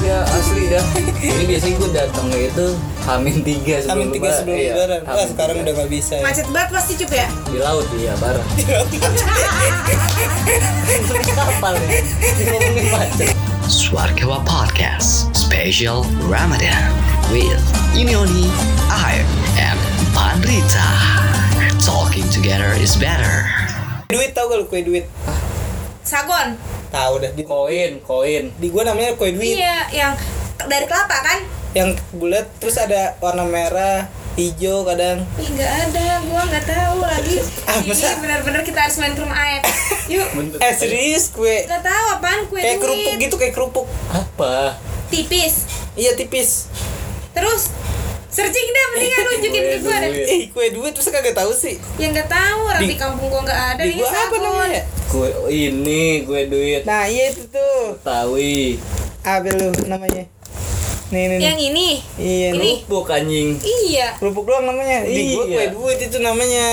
Ya asli dah. Ini biasanya gue datangnya itu gitu, Hamin tiga sebelum Amin tiga lebar- sebelum iya, lebaran. Hamin Wah sekarang tiga. udah nggak bisa. ya. Macet banget pasti cup ya. di laut iya bareng. Kapal ya. Ngomongin macet. Swargawa Podcast Special Ramadan with Imioni, Air, and Pandrita. Talking together is better. Duit tau gak lu kue duit? Sagon. Tahu dah. Di, Koin, koin. di gua namanya kue duit. Iya, yang t- dari kelapa kan? Yang bulat terus ada warna merah, hijau kadang. Ih, nggak ada, gua nggak tahu lagi. Ah, Ini masa? benar-benar kita harus main ke rumah Aep. Yuk. Bentuk Eh serius kue Nggak tahu apaan kue kayak kerupuk duit. gitu kayak kerupuk. apa? Tipis. Iya tipis. Terus searching deh mendingan nunjukin ke gua deh. Iya. Eh kue duit terus kagak tahu sih. Yang nggak tahu orang di, Di- kampung gua nggak ada. Di ini gua apa sagon. namanya? Gue ini gue duit Nah iya itu tuh. tawi. Apa lu namanya? Nih nih. nih. Yang ini. Iya. ini. nih. Kerupuk anjing. Iya. Kerupuk doang namanya. Di gua Iya. kue duit itu namanya.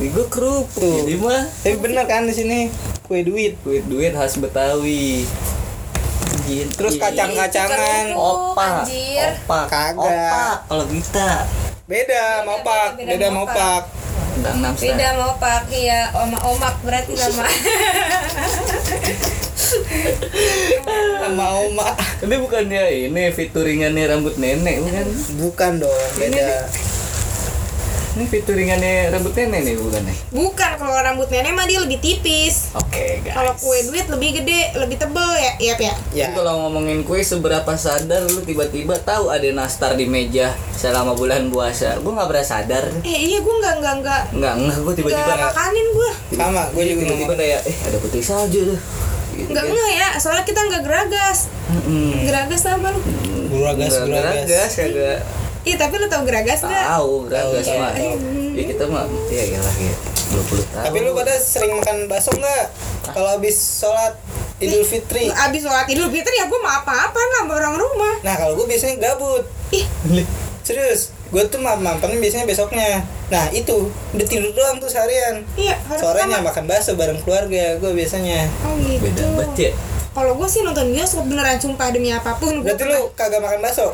Ini gue kerupuk. Tuh. Jadi mah Tapi bener kan di sini kue duit. duit duit khas Betawi. Gin- Terus Ih. kacang-kacangan. Kerupuk. Opa, Oh, anjir. opa, Kagak. opa. Kalau kita Beda, mopak, beda, beda, mopak. mopak. tentang namsa. Beda mau pakai ya oma omak berarti nama. Sama oma. Ini bukannya ini featuringannya rambut nenek bukan? Bukan dong, beda. Ini featuringannya rambut nenek nih bukan nih? Bukan kalau rambut nenek mah dia lebih tipis. Oke guys. Kalau kue duit lebih gede, lebih tebel ya, iya ya. Ya. Jadi Kalau ngomongin kue seberapa sadar lu tiba-tiba tahu ada nastar di meja selama bulan puasa. Gua nggak pernah sadar. Eh iya gue nggak nggak nggak Nggak nggak gua tiba-tiba nggak makanin gue. Sama, gue juga tiba-tiba ngomong. kayak eh ada putih salju tuh. Gitu Nggak kan. Iya. Hmm. nggak ya, soalnya kita nggak geragas. Mm-mm. Hmm. Geragas apa lu? Guragas, Nggak guragas. geragas kagak Iya tapi lu tau geragas nggak? tahu geragas Tahu, mah. tahu. Ya kita mah ya iyalah ya 20 tahun. Tapi lu pada sering makan bakso nggak? Kalau habis sholat Idul Fitri. Abis sholat idul fitri ya gue mau apa-apa lah sama orang rumah. Nah kalau gue biasanya gabut. Ih Serius, gue tuh mam- mampangnya biasanya besoknya. Nah itu udah tidur doang tuh seharian. iya harus Sorenya sama. makan bakso bareng keluarga gue biasanya. Oh gitu. beda banget ya. Kalau gue sih nonton bioskop beneran sumpah demi apapun. Gua Berarti lu kagak makan bakso?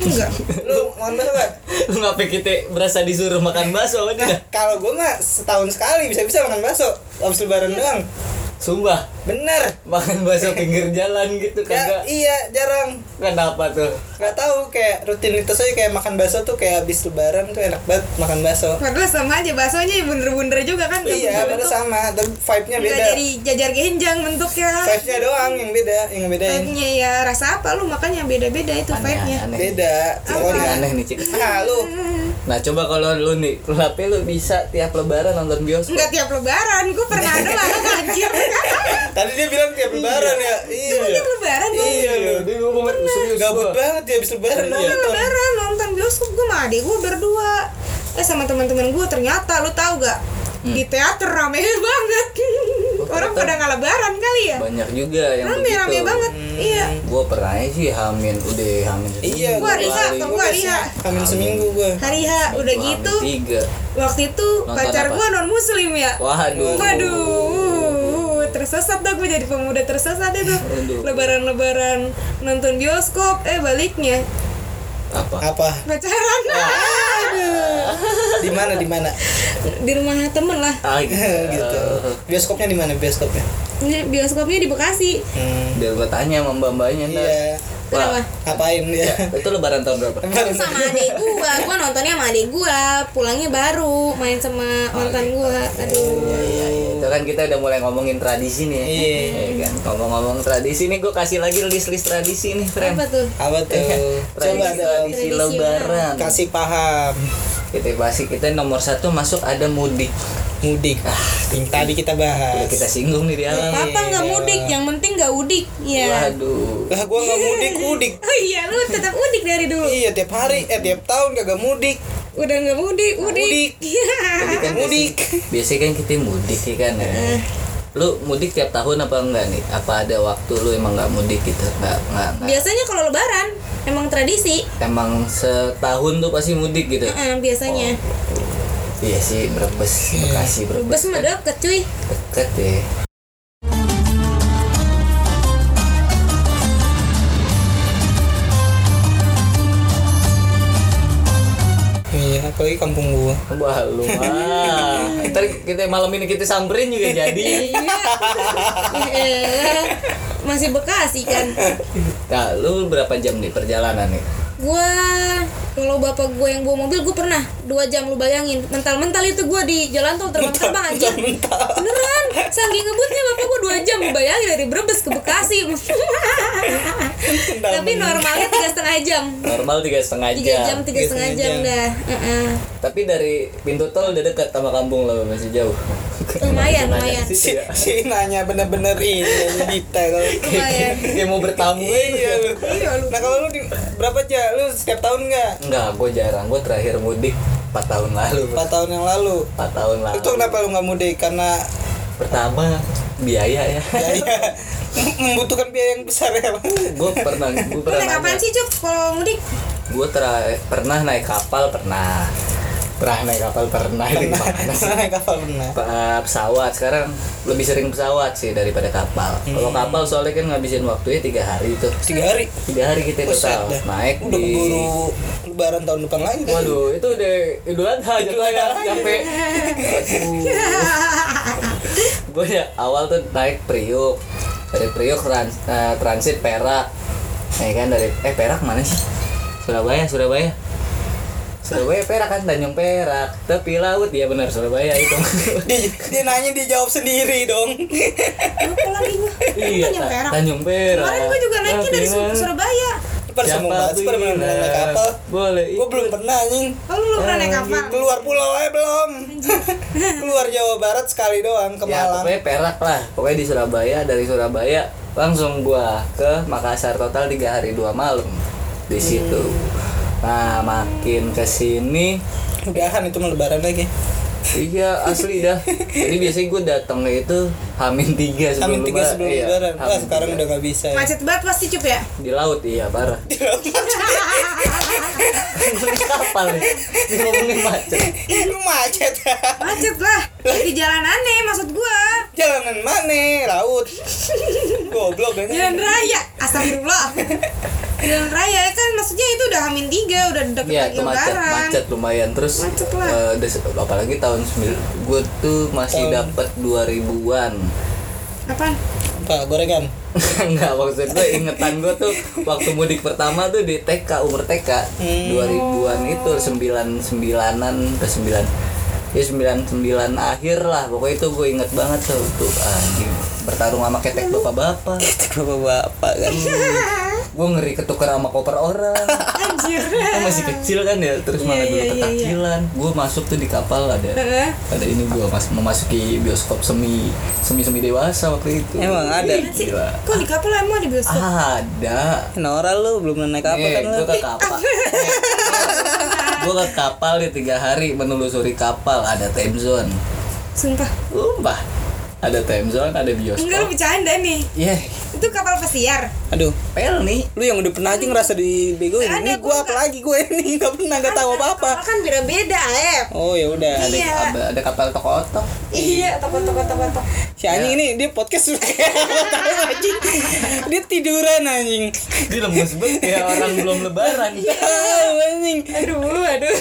enggak. Lu makan bakso nggak? Nah, Lu ngapa kita berasa disuruh makan bakso sama dia? Kalau gue mah setahun sekali bisa-bisa makan bakso. Habis lebaran doang. Sumpah, Bener. makan bakso pinggir jalan gitu Ya, kagak. iya jarang. Kenapa tuh? Gak tahu kayak rutinitas aja kayak makan bakso tuh kayak habis lebaran tuh enak banget makan bakso. Padahal sama aja baksonya ya bener-bener juga kan nggak Iya, bener pada bentuk. sama, tapi vibe-nya Nggak beda. jadi jajar genjang bentuknya. Vibe-nya doang yang beda, yang bedain. Vibe-nya ya rasa apa lu makanya beda-beda itu vibe-nya. Beda. Oh, Sorry. aneh nih cik. Nah, lu Nah coba kalau lu nih, kenapa lu bisa tiap lebaran nonton bioskop? Enggak tiap lebaran, gue pernah ada larang anjir. tadi dia bilang tiap lebaran ya. Iya. Cuma tiap lebaran gue. Iya, lu. dia ngomong serius Gabut gua. banget dia habis lebaran Iya. Tiap nonton. lebaran nonton bioskop gue sama adik gue berdua. Eh sama teman-teman gue ternyata lu tahu gak? Hmm. Di teater rame banget. Orang pada nggak lebaran kali ya. Oh, Banyak juga yang Rame begitu. Hmm. rame banget. Iya. Gue pernah aja sih hamin, udah hamin. Iya, Gua hari H, gua gua hari H. Hamin seminggu gua. Hari H udah gitu. Tiga. Waktu itu Nonton pacar apa? gue non muslim ya. Waduh. Waduh, uh, tersesat dah gue jadi pemuda tersesat itu. Aduh. Lebaran-lebaran nonton bioskop, eh baliknya Apa? Apa? pacaran Di mana di mana? di rumah temen lah. Ah gitu. gitu. Bioskopnya di mana bioskopnya? Ini bioskopnya di Bekasi. Hmm. Biar gue tanya sama mbak mbaknya Iya. Kenapa? Ngapain dia? itu lebaran tahun berapa? sama adik gua, gua nontonnya sama adik gua, pulangnya baru main sama mantan gua. Aduh. Iya, iya. itu kan kita udah mulai ngomongin tradisi nih ya. Iya. Iya kan ngomong-ngomong tradisi nih gue kasih lagi list-list tradisi nih friend Apa tuh? Apa tuh? Coba Iya, tradisi, dong tradisi Tradisional. lebaran kasih paham kita pasti kita nomor satu masuk ada mudik mudik. Yang tadi kita Ah, bahas. Udah kita singgung nih di awal Papa nggak mudik, yang penting nggak udik. Iya. waduh Lah gua nggak mudik, mudik. Oh iya, lu tetap udik dari dulu. Iya tiap hari, eh tiap tahun kagak mudik. Udah nggak mudik, udik. Iya. Udik. Jadi kan Mudik. biasanya- biasanya kan kita mudik ya kan ya Eh. lu mudik tiap tahun apa enggak nih apa ada waktu lu emang nggak mudik gitu nggak nggak nggak. Biasanya kalau lebaran emang tradisi. emang setahun tuh pasti mudik gitu Eh, biasanya. Oh, Iya sih, Brebes, Bekasi, Brebes Bus mah deket cuy. deket ya. Iya, apalagi kampung gua Wah lu mah. Ntar kita malam ini kita samperin juga jadi. Eh, Iya. masih Bekasi kan Nah, lu berapa jam nih perjalanan nih? gua kalau bapak gue yang bawa mobil gue pernah dua jam lu bayangin mental-mental itu gue di jalan tol terbang-terbang anjir beneran saking ngebutnya bapak gue dua jam lu bayangin dari Brebes ke Bekasi tapi normalnya tiga setengah jam Normal tiga setengah tiga jam. jam tiga setengah jam dah Heeh. Tapi dari pintu tol udah dekat sama kampung lo masih jauh. ya. lumayan lumayan si, Iya. si nanya bener-bener ini detail Iya. lumayan Kayak mau bertamu aja. iya lu nah kalau lu di, berapa aja lu setiap tahun nggak Enggak, gue jarang. Gue terakhir mudik 4 tahun lalu. 4 empat tahun yang lalu tahun lalu. itu kenapa lu nggak mudik karena Pertama biaya ya. biaya membutuhkan biaya yang besar ya Bang? gue pernah gue lu pernah naik apaan nanya. sih Cuk kalau mudik Gue tera- pernah naik kapal pernah. Pernah naik kapal pernah. Ini gimana sih? naik kapal benar Pa- pesawat sekarang lebih sering pesawat sih daripada kapal. Hmm. Kalau kapal soalnya kan ngabisin waktunya tiga hari tuh. tiga hari Tiga hari kita Buset total dah. naik udah di. keburu lebaran tahun depan lagi kan? Waduh, itu udah Idul Adha jatuhnya sampai. Gue ya awal tuh naik Priuk dari Priuk trans- eh, transit Perak, ya kan dari eh Perak mana sih? Surabaya, Surabaya. Surabaya Perak kan Tanjung Perak, tepi laut ya benar Surabaya itu. dia, dia nanya dia jawab sendiri dong lupa lagi gue iya, Tanjung Ta- Kan Perak. Tanjung Perak. Nah, kemarin gue juga naiknya dari Su- Tapi Surabaya pada Siapa semua bahas bilang? pada belum pernah naik kapal Nah, Boleh. gue belum pernah anjing oh lu belum pernah naik kapal keluar pulau aja belum keluar Jawa Barat sekali doang ke ya Malang pokoknya perak lah pokoknya di Surabaya dari Surabaya langsung gua ke Makassar total tiga hari dua malam di Hmm. situ nah makin kesini udahan itu mau lebaran lagi iya asli dah jadi biasanya gua datangnya itu hamin tiga sebelum Amin tiga lebar- sebelum iya, lebaran hamin wah sekarang tiga. udah nggak bisa ya. macet banget pasti Cuk ya di laut iya parah ya? ngomongin kapal ya. nih ngomongin macet Lu macet ya. macet lah di jalan aneh maksud gua jalanan mana laut goblok kan jalan raya astagfirullah jalan raya kan maksudnya itu udah hamin tiga udah deket Iya lagi itu macet, lebaran macet lumayan terus Macet lah. eh, des- apalagi tahun 9 gue tuh masih Tahun. dapat 2000-an. apaan apa gorengan Enggak maksud gue ingetan gue tuh waktu mudik pertama tuh di TK umur TK Hmm. 2000-an itu 99-an ke 9 ya 99 akhir lah pokoknya itu gue inget banget tuh tuh anjing bertarung sama ketek bapak-bapak bapak bapak kan gue ngeri ketukar sama koper orang anjir Kan masih kecil kan ya terus malah Iya, dulu iya, iya, ketakilan gue masuk tuh di kapal ada Heeh. ada ini gue mas memasuki bioskop semi semi semi dewasa waktu itu emang ada Sih, Gila. kok di kapal emang di bioskop ada Nora lu belum naik kapal eh, kan gue lu ke kapal gue ke kapal di tiga hari menelusuri kapal ada time zone sumpah umpah ada time zone ada enggak bioskop lu Iya, bercanda nih Yeh, itu kapal pesiar aduh pel nih lu yang udah pernah aja ngerasa dibegoin Nggak ada, ini gua gua apa lagi gue ini nggak pernah nggak tahu apa apa kapal kan beda beda Ep oh ya udah ada, Iya. ada kapal toko otok iya toko toko toko toko si Iya. anjing ini dia podcast suka tahu anjing dia tiduran anjing dia lemes banget ya orang belum lebaran tahu anjing aduh aduh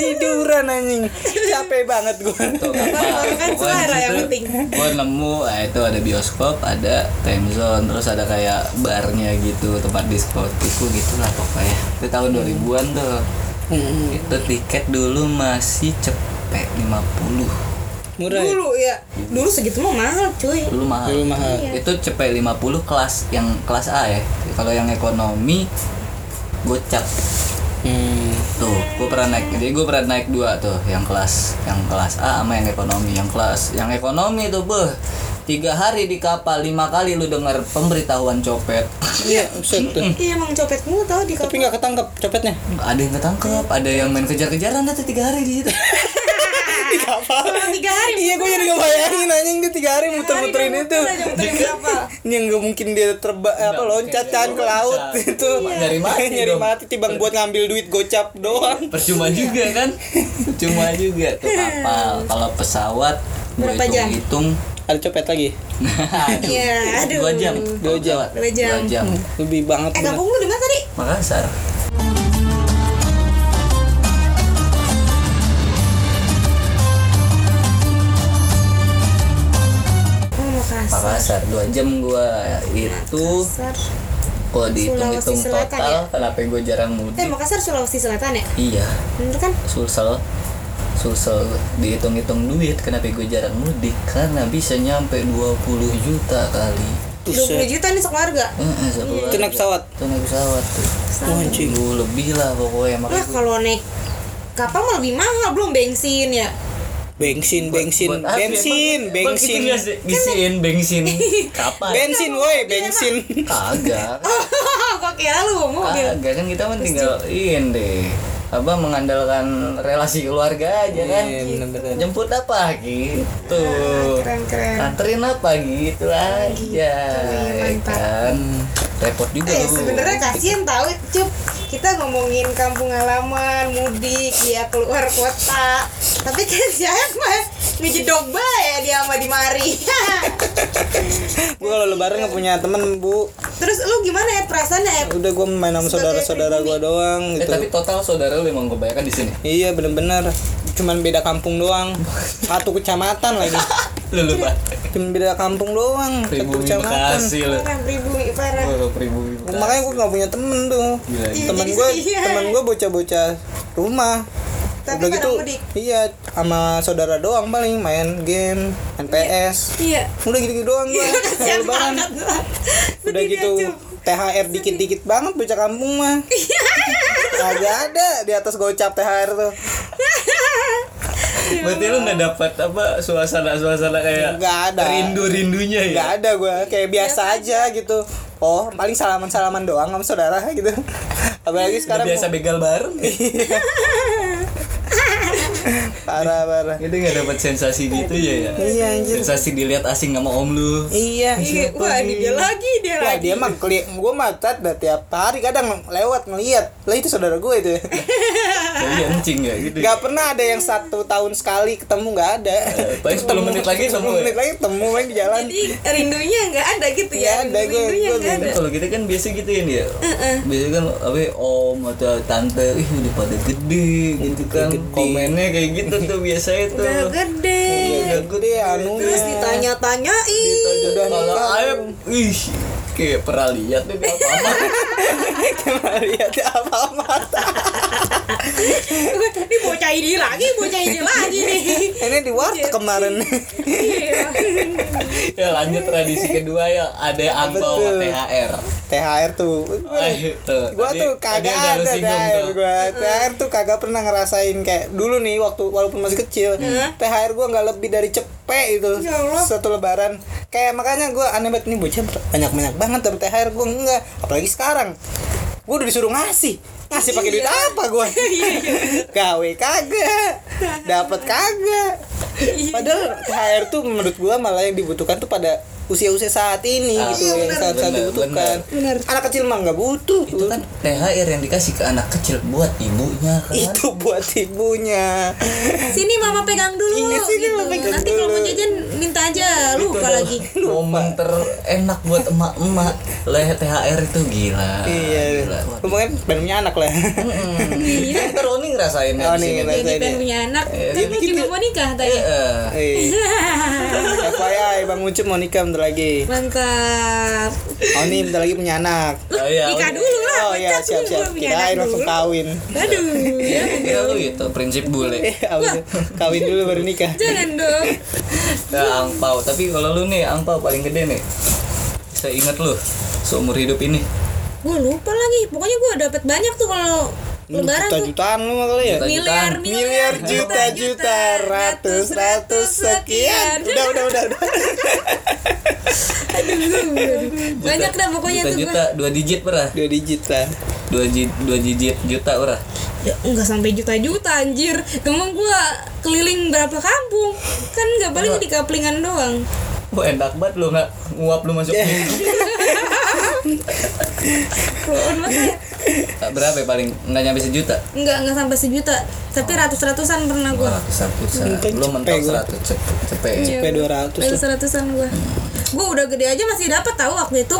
tiduran anjing capek banget gue Tuh, apa? Kan Pokoknya suara di yang situ penting. gua nemu eh, itu ada bioskop ada time zone terus ada kayak barnya gitu tempat diskotiku gitu lah pokoknya itu Hmm. tahun 2000-an tuh itu tiket dulu masih cepet 50 murah ya? dulu ya dulu segitu mah mahal cuy dulu mahal dulu mahal Iya. itu cepet 50 kelas yang kelas A ya kalau yang ekonomi gocap hmm. tuh gue pernah naik jadi gue pernah naik dua tuh yang kelas yang kelas A sama yang ekonomi yang kelas yang ekonomi tuh beh tiga hari di kapal lima kali lu dengar pemberitahuan copet iya buset tuh iya emang copet mulu tau di tapi kapal nggak ketangkep copetnya ada yang ketangkep ada yang main kejar-kejaran dah tuh tiga hari di situ Ah. di kapal tiga hari iya gue jadi ngebayangin anjing dia tiga hari muter-muterin Hari itu dulu aja muterin kapal ini yang nggak mungkin dia terba apa loncat kan ke laut itu Iya. Nyari mati nyari dong. mati timbang buat ngambil duit gocap doang Iya. percuma juga kan percuma juga tuh kapal kalau pesawat gue Berapa jam? hitung ada copet lagi aduh, Iya, aduh. dua jam Dua jam. dua Dua jam, jam. dua jam. Hmm. lebih banget eh bener. kampung lu di mana tadi Makassar Makassar. Makassar dua jam gua itu Makassar. kalau dihitung-hitung Sulawesi Selatan ya? total kenapa gue jarang Eh mudik Makassar Sulawesi Selatan ya? iya Bener kan? Sulsel Sulsel dihitung-hitung duit kenapa gue jarang mudik karena bisa nyampe 20 juta kali Buset. 20 juta nih sekeluarga. Heeh, sekeluarga. Itu naik Iya. pesawat. itu naik pesawat tuh Wah, anjing. Minggu lebih lah pokoknya Lah makanya gua- kalau naik kapal mah lebih mahal belum bensin ya. Bensin, bensin, Buat apa ya? bensin, Bang- bang, bensin. Kan kita nggak sih- Bensin, bensin. Kapan? Bensin woi, bensin. Kagak. Kok kira lu mau mobil? Kagak kan kita kan tinggal ini deh. Apa mengandalkan relasi keluarga aja kan? Iya, bener-bener. Jemput apa gitu. Ah, Keren keren. Anterin apa gitu aja. ya mantap. kan. Repot juga Eh lu. sebenarnya kasihan tahu cup kita ngomongin kampung halaman mudik dia keluar kota tapi kan si Ayat mah ngejedok bae ya dia sama di mari Gua kalau lebaran nggak punya temen bu. terus lu gimana ya perasaannya ya Udah gua main sama saudara-saudara gua doang Eh, gitu. tapi total saudara lu emang kebanyakan di sini. Iya bener-bener. Cuman beda kampung doang. Satu kecamatan lagi. Lu lupa. Cuman beda kampung doang. Satu Pribumi kecamatan. Bekasi lu. parah pribumi parah Lu pribumi Bekasi. Makanya gua nggak punya temen tuh. Gila, gila. Temen Jadi gua, iya. temen gua bocah-bocah rumah. Tapi Udah pada gitu, mudik. iya sama saudara doang paling main game, main PS. iya Udah gitu-gitu doang gua. kasihan Lebaran. banget Udah Sedih dia, gitu Cup. THR dikit-dikit banget bocah kampung mah. Iya. Kagak ada di atas gocap THR tuh. Berarti lu nggak dapat apa suasana-suasana kayak Nggak ada. rindu-rindunya ya? Gak ada gua, Iya, kayak kan? biasa aja gitu. Oh, paling salaman-salaman doang sama saudara gitu. Apalagi Udah sekarang biasa begal bareng. parah parah. Itu nggak dapat sensasi gitu ya? ya? Iya anjir. Sensasi dilihat asing sama om lu. Iya. Iya, siapa wah nih? ini dia lagi dia Wah lagi Ya, dia mah keli, gue matat dah tiap hari kadang lewat ngeliat lah itu saudara gue itu Jadi anjing ya gitu. nggak pernah ada yang satu tahun sekali ketemu nggak ada Eh, Paling 10 menit lagi ketemu ketemu ya? menit lagi ketemu main di jalan jadi rindunya nggak ada gitu Nggak ya Iya, ada, gua- rindunya gua nggak Kan ada kalau kita kan biasa gitu ya dia. Biasanya kan apa ya, om atau tante ih udah pada gede gitu kan. gede. Komennya kayak gitu tuh biasanya tuh. udah gede Iya, gede anunya terus ditanya-tanyain udah Kalau nikah Aib ih kayak pernah lihat deh di apa Kemarin lihat apa mata ini bocah ini lagi bocah ini lagi nih ini di warteg kemarin Iya. Ya lanjut tradisi kedua ya ada yang angpau sama Betul. THR. THR tuh Ah, itu. gua Tadi- tuh tadi kagak udah lu ada singgung THR tuh. gua THR tuh kagak pernah ngerasain kayak dulu nih waktu walaupun masih kecil Mm-hmm. THR gua nggak lebih dari cepek itu Ya Allah. satu lebaran kayak makanya gua aneh banget nih bocah banyak banyak banget tapi THR gua enggak apalagi sekarang gua udah disuruh ngasih ngasih pakai Iya. duit apa gua gawe kagak dapat kagak Iya. padahal THR tuh menurut gua malah yang dibutuhkan tuh pada usia-usia saat ini Ah, iya, gitu yang benar. saat-saat Benar, dibutuhkan benar. anak kecil mah nggak butuh gitu itu kan THR yang dikasih ke anak kecil buat ibunya kan itu buat ibunya sini mama pegang dulu Iya, sini gitu. mama pegang nanti kalau mau dulu. Gitu jajan minta aja lupa lagi momen terenak buat emak-emak lah THR itu gila iya Ah, gila Waduh. lumayan bandungnya anak lah Mm-mm. Kan ntar Oni Oh, ngerasain ya di Oni sini. ngerasain. jadi Saya pengen dia. punya anak kan gitu. lu juga mau nikah tadi Eh, Eh, FYI Bang Ucup mau nikah bentar lagi mantap Oni bentar lagi punya anak oh iya, nikah Oni. dulu lah Oh iya pecat dulu, siap-siap gua punya anak Kirain langsung dulu. kawin aduh ya Kira lu itu gitu, prinsip bule Iya. Eh, apa tuh? Kawin dulu baru nikah jangan dong nah, angpau tapi kalau lu nih angpau paling gede nih saya ingat lu seumur hidup ini gue lupa lagi pokoknya gue dapet banyak tuh kalau lebaran tuh Juta-jutaan lu mah kali ya Juta-juta. miliar Miliar, Miliar juta-juta Ratus ratus sekian Udah udah udah udah Aduh, banyak dah pokoknya tuh gua. juta-juta dua digit pernah Dua digit lah dua, ji- dua digit juta pernah Ya, nggak sampai juta-juta anjir emang gua keliling berapa kampung kan nggak paling di kaplingan doang Wah enak banget lu nggak nguap lu Eh, Iya. masuk Keluaran makanya berapa ya paling nggak nyampe sejuta nggak nggak sampai sejuta tapi ratus-ratusan pernah gua ratusan pulsa Mungkin lu mentok cepet gua. seratus cepet cepet Iya. Sampai 200 tuh ratus-ratusan gua Hmm. gua udah gede aja masih dapat tahu waktu itu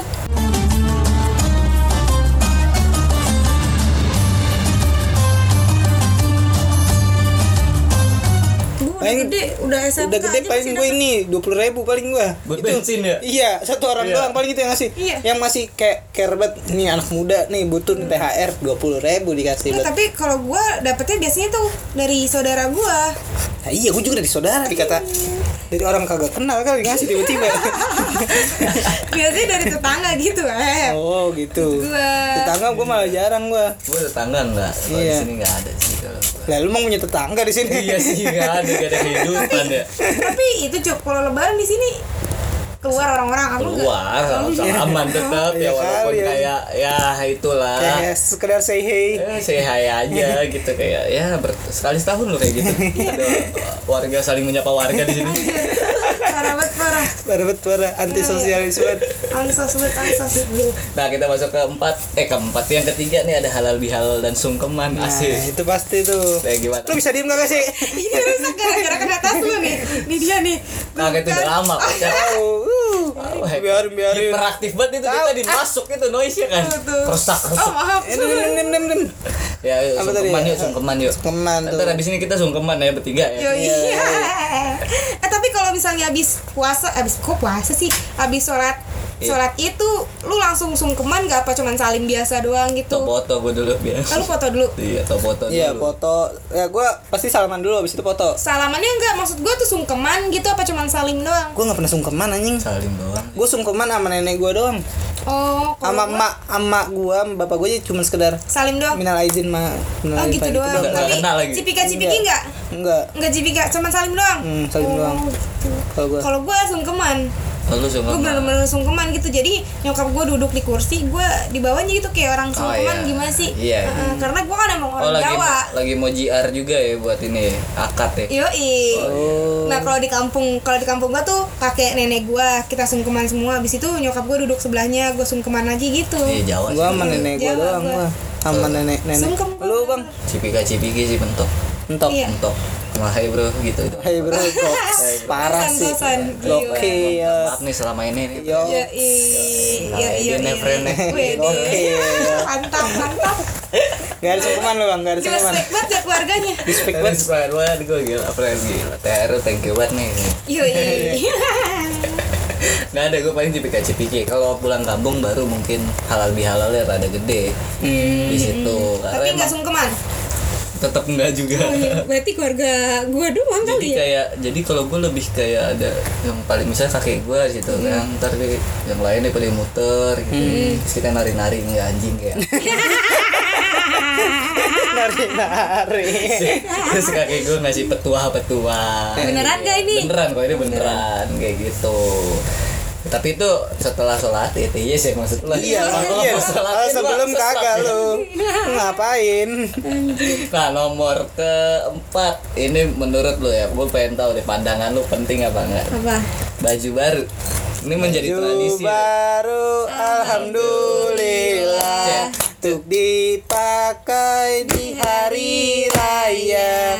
gua udah Paling- gede udah SMK udah gede aja paling masih gue dapat. ini dua puluh ribu paling gue Buat bensin ya? iya satu orang Iya. doang paling itu yang ngasih Iya. Hmm. yang masih kayak care banget nih anak muda nih butuh nih thr dua puluh ribu dikasih Nah, buat tapi kalau gue dapetnya biasanya tuh dari saudara gue nah, iya gue juga dari saudara dikata dari orang kagak kenal kali ngasih tiba-tiba biasanya dari tetangga gitu eh oh gitu Gua- tetangga gue malah jarang gue Gue tetangga enggak? Kalau Iya. di sini enggak ada sih kalau gua. lah lu mau punya tetangga di sini Iya sih enggak ada, enggak ada kehidupan ya. tapi itu cuk kalau lebaran di sini keluar orang-orang aku nggak- Keluar salaman tetap Iya ya walaupun kali ya. kayak ya itulah. kayak Ya, sekedar say hey Eh, say hi aja gitu kayak ya ber- sekali setahun loh kayak gitu. Ada warga saling menyapa warga di sini. parah banget parah Parah banget parah antisosialis banget Iya. ansos banget ansos banget. Nah kita masuk ke empat eh keempat yang ketiga nih ada halal bihalal dan sungkeman nah, asik. itu pasti tuh Kayak gimana? lu bisa diem gak sih ini Iya, rusak gara-gara kena tas lu nih ini dia nih Nah itu udah lama. Kak. oh, uh, biarin biarin Hiperaktif banget itu kita dimasuk itu noise nya kan. Tuh, tuh. Rusak oh rusak. maaf Eh, nem, nem, nem, nem, nem. Ya yuk, Apa tadi sungkeman ya? yuk sungkeman yuk. Sungkeman tuh. Ntar abis ini kita sungkeman ya bertiga ya. Yo, iya. Eh tapi kalau misalnya abis puasa, abis kok puasa sih, abis sholat Iya. sholat itu lu langsung sungkeman gak apa cuman salim biasa doang Tau gitu. foto gue dulu biar. Lalu foto dulu. Iya tau foto Iya dulu. foto Ya gue pasti salaman dulu abis itu foto Salamannya enggak maksud gua tuh sungkeman gitu apa cuman salim doang. Gue gak pernah sungkeman anjing Salim doang. Gue sungkeman sama nenek gue doang Oh, kalau Sama gua emak Sama gue sama bapak gue aja cuma sekedar salim doang. Minal aizin ma minal Oh aidin, gitu Pak. doang. Nggak Tapi kenal lagi. cipika-cipiki enggak? Enggak Enggak cipika, cuman salim doang. Hmm, salim doang. gitu. Kalau gue Kalau gua sungkeman. Lalu gue sungkeman. bener-bener sungkeman gitu jadi nyokap gue duduk di kursi gue di bawahnya gitu kayak orang Oh, sungkeman iya. gimana sih Iya. Heeh, karena gue kan emang Oh orang lagi Jawa Iya. lagi mau JR juga ya buat ini akad ya. Yoi. Oh. Nah kalau di kampung kalau di kampung gua tuh kakek nenek gua kita sungkeman semua. Abis itu nyokap gua duduk sebelahnya, gua sungkeman lagi gitu. Iya Jawa Gue sama sih. nenek gue Jawa doang gua. gue Sama nenek nenek Sungkem. Lu bang Cipika cipiki sih bentuk. Entok Iya. Bentuk. Wah, hai bro gitu. gitu. Hai bro goks Parah sih Bosan-bosan, gila. Gokil Maaf nih selama ini nih. iya. Yo Yoi. Nah, Yoi. ini Yoi. friend-nya. Wede. Gokil. Mantap, mantap. Gak ada sungkeman lu bang Gak ada Gila sungkeman stek banget ya keluarganya. Respect banget Respect banget gue gila Apalagi gila TR thank you banget nih Iya, Yoi. Gak ada gue paling cipika cipiki Kalau pulang kampung baru mungkin halal bihalal ya rada gede Di situ Karena Hmm, Tapi nggak emang sungkeman. tetap enggak juga Oh, iya. Berarti keluarga gua doang jadi kali ya. kayak jadi kalau gue lebih kayak ada yang paling misalnya kakek gue gitu Hmm. kan ntar dia- yang lain daripada yang muter gitu Terus kita nari nari nggak anjing kayak Nari nari terus kakek gue ngasih petua petua Beneran nggak ini? beneran kok ini beneran kayak gitu tapi itu setelah sholat itu iya sih maksud lo Iya, Kalau iya. mau sholat, Kalau kan sebelum sesat kagak ya. lu. Ngapain? Nah nomor keempat Ini menurut lo ya Gue pengen tahu deh pandangan lo penting apa enggak Apa? Baju baru Ini menjadi tradisi ya. baru Iya. alhamdulillah untuk dipakai di hari raya.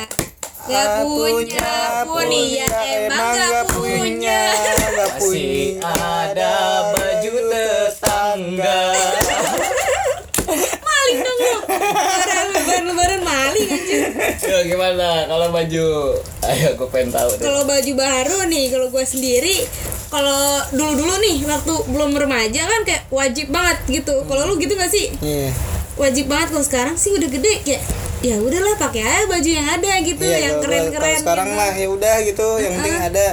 Gak ya punya punya emang gak punya. Gak Masih ada baju tetangga Maling dong lu. Lebaran lebaran lebaran maling anjir. Yo, Gimana kalau baju Ayo gue pengen tahu deh Kalau baju baru nih, kalau gue sendiri, kalau dulu-dulu nih waktu belum remaja kan kayak wajib banget gitu. Kalau lu gitu gak sih? Iya. Wajib banget kalau sekarang sih udah gede kayak ya udahlah pakai aja baju yang ada gitu, Iya, yang kalau- keren-keren. kalau sekarang gitu. mah ya udah gitu yang penting ada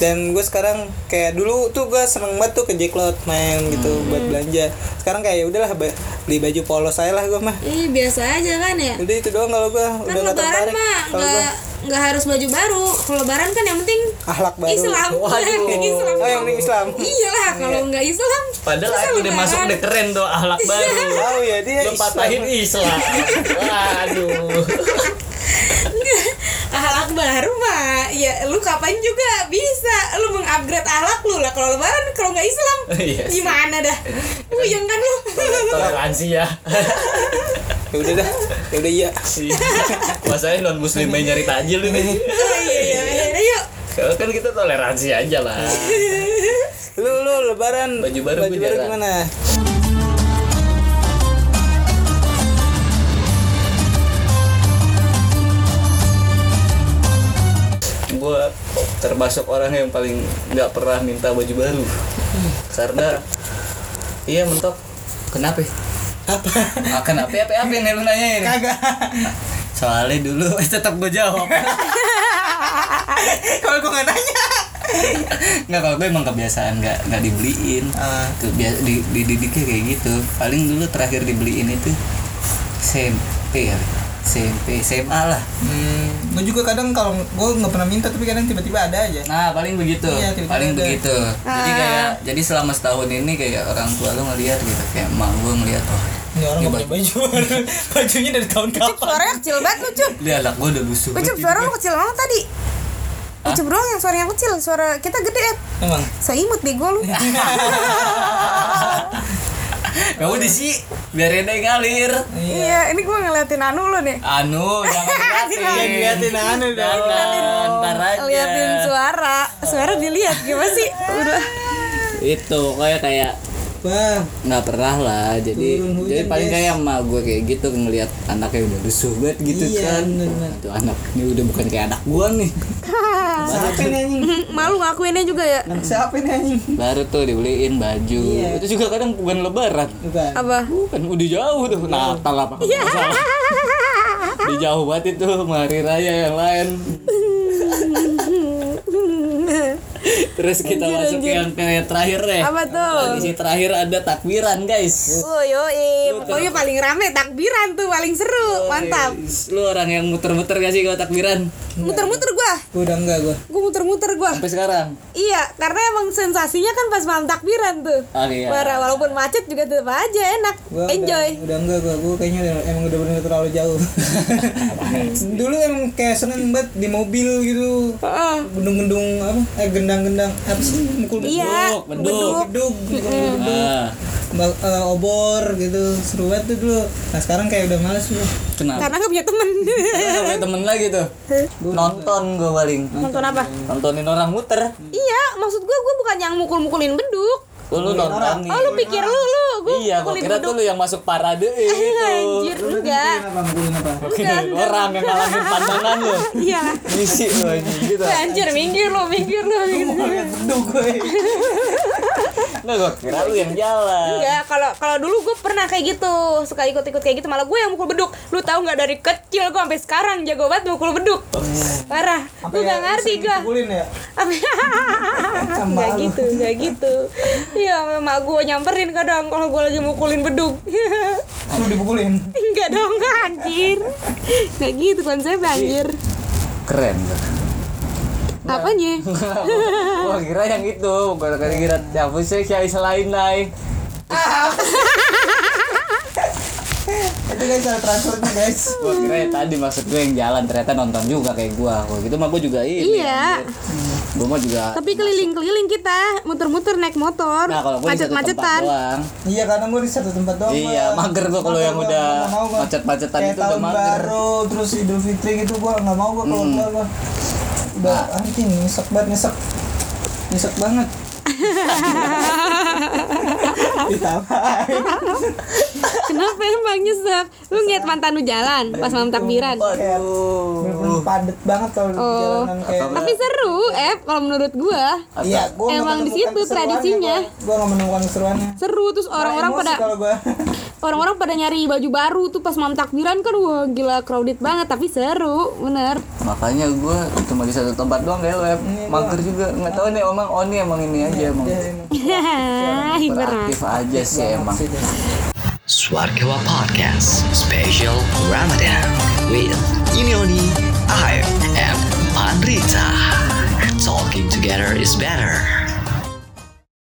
dan gue sekarang kayak dulu tuh gue seneng banget tuh ke Jacklot main gitu Hmm. buat belanja sekarang kayak ya udahlah ba- beli baju polos saya lah gue mah Ih, biasa aja kan ya. udah itu doang kalau gue Kan udah nggak tertarik lebaran mah kalau gue nggak nggak harus baju baru. Kalau lebaran kan yang penting ahlak baru Islam. Waduh. Islam. Iya. oh yang penting Islam Iyalah kalau nggak Islam. Iya. Padahal aku susah udah lebaran. Iya. masuk udah keren tuh Ahlak baru tahu ya dia Belum patahin Islam Waduh Ahlak baru mah ya lu kapan juga bisa lu mengupgrade ahlak lu lah kalau lebaran kalau nggak Islam Iya sih. gimana dah puyeng kan lu Toleransi ya ya udah dah ya udah iya Masalahnya non muslim main nyari tajil ini Oh, iya iya akhirnya yuk Kalau kan kita toleransi aja lah lu lu lebaran Baju baru baju gua baru jarang. gimana gue termasuk orang yang paling nggak pernah minta baju baru karena iya mentok kenapa Apa? akan apa apa apa yang lu nanya ini Kagak. soalnya dulu tetap gue jawab Kalau gue nggak nanya. nggak kalau gue emang kebiasaan nggak nggak dibeliin Ah. Kebia- di, dididiknya kayak gitu paling dulu terakhir dibeliin itu SMP ya SMP SMA lah Hmm, gue juga kadang kalau gue nggak pernah minta tapi kadang tiba-tiba ada aja. Nah paling begitu, Iya, tiba-tiba paling ada. begitu. Jadi Ah. kayak, jadi selama setahun ini kayak orang tua lu ngelihat gitu, kayak emak gue ngelihat oh, Ini orang Ini nggak punya baju. Bajunya dari tahun kapan? Suaranya kecil banget lucu. dia anak gue udah lusuh. Ucup banget." suara lu kecil banget tadi Ucup doang yang suara yang kecil Suara kita gede ya Emang. Seimut deh gue lu Iya. Kamu di sih, biarin aja ngalir. Iya ini gue ngeliatin Anu lu nih Anu, jangan ngeliatin. Iya, ngeliatin anu dong. Jangan, ntar aja. Liatin suara Suara dilihat gimana sih Udah Itu, kayak kayak Bang, nggak pernah lah jadi Turun hujan, jadi paling guys. kayak emak gue kayak gitu ngelihat anaknya udah lusuh banget gitu Iya, kan bener-bener. tuh anak ini udah bukan kayak anak gue nih Ah. siapa nih anjing? Malu ngakuinnya juga ya Siapa nih anjing? baru tuh dibeliin baju Iya. itu juga kadang bukan lebaran Bukan. Apa Bukan, udah jauh tuh Nah, Natal apa Iya. Udah jauh banget itu sama hari raya yang lain Terus kita Anjir, masuk anjir. yang ke terakhir deh Apa tuh? Kondisi terakhir ada takbiran guys Oh yoi Pokoknya paling rame Takbiran tuh paling Oh, seru iya. Mantap Lu orang yang muter-muter gak sih kalau takbiran? Muter-muter gue Gue udah enggak gue. Gue muter-muter gue Sampai sekarang Iya, karena emang sensasinya kan pas malam takbiran tuh. Oh, iya. Parah, walaupun macet juga tetap aja enak. Gua Enjoy. Udah, udah enggak gua, gua kayaknya udah, emang udah bener terlalu jauh. Dulu emang kayak seneng banget di mobil gitu. Heeh. Gendung-gendung apa? Eh gendang-gendang apa sih? Mukul Iya, beduk. beduk. beduk, mukul beduk. ah, Bal- eh, obor gitu seru banget tuh dulu nah sekarang kayak udah males lu Kenapa? Karena gak punya temen. Gak punya temen lagi tuh Nonton gue paling Nonton apa? Nontonin orang muter Iya, maksud gue gue bukan yang mukul-mukulin beduk. Lu, lu nonton nih Oh, lu pikir lu lu gue Iya, gua mukulin kira beduk. tuh gitu. lu yang masuk parade eh, Eh, itu. Anjir, enggak. apa mukulin apa Bukan. orang yang ngalamin pandangan lu Iya. Misi lu anjing gitu Anjir, minggir lu, minggir lu. minggir lu. beduk gue Nggak, Nah, gua kira lu yang jalan Enggak, kalau kalau dulu gue pernah kayak gitu, suka ikut-ikut kayak gitu, malah gue yang mukul beduk. Lu tahu nggak dari kecil gue sampai sekarang jago banget mukul beduk. Parah, gue nggak ngerti gue. mukulin ya Apa? Gak lu. gitu, gak gitu. Iya, emak gue nyamperin kadang kalau gue lagi mukulin beduk. lu dipukulin Enggak dong, nggak, anjir. Gak gitu konsepnya anjir. Keren tuh Apanya? Gua kira yang itu Gua kira kira Capusnya kiai selain naik itu guys salah transfernya guys Gua kira ya tadi maksud gue yang jalan Ternyata nonton juga kayak gua Kalau gitu mah gua juga ini Iya, Gua mah juga tapi keliling-keliling kita, muter-muter naik motor, Nah kalau gua di satu tempat macet-macetan. doang iya kadang gue di satu tempat doang Iya, gua. mager gua kalau Mager yang gua, udah nggak mau gua. macet-macetan Kayak itu udah tahun mager. Hmm. baru terus idul fitri gitu gue nggak mau gue kalau udah gue udah Nah. anjing nyesek banget nyesek nyesek banget ditawain Kenapa emang nyesek? Lu ngeliat mantan lu Ya jalan pas gitu. malam takbiran. Uh. Bener-bener padet banget kalau di Oh. jalanan kayak Tapi seru, eh kalau menurut gua Iya, gua nggak Emang di menemukan situ keseruannya, tradisinya. Gua, gua nggak menemukan keseruannya. seru terus orang-orang Emosi pada kalau gua. orang-orang pada nyari baju baru tuh pas malam takbiran kan wah gila crowded banget tapi seru bener Makanya gua cuma di satu tempat doang kayak lu Em. Mager juga Nggak tahu nih emang Oni emang ini aja emang Dia ini. iya, Ih, berat. Beraktif aja sih emang Sih, dia. Swarkewa Podcast Special Ramadan with Imioni, I, and Andrita. Talking together is better.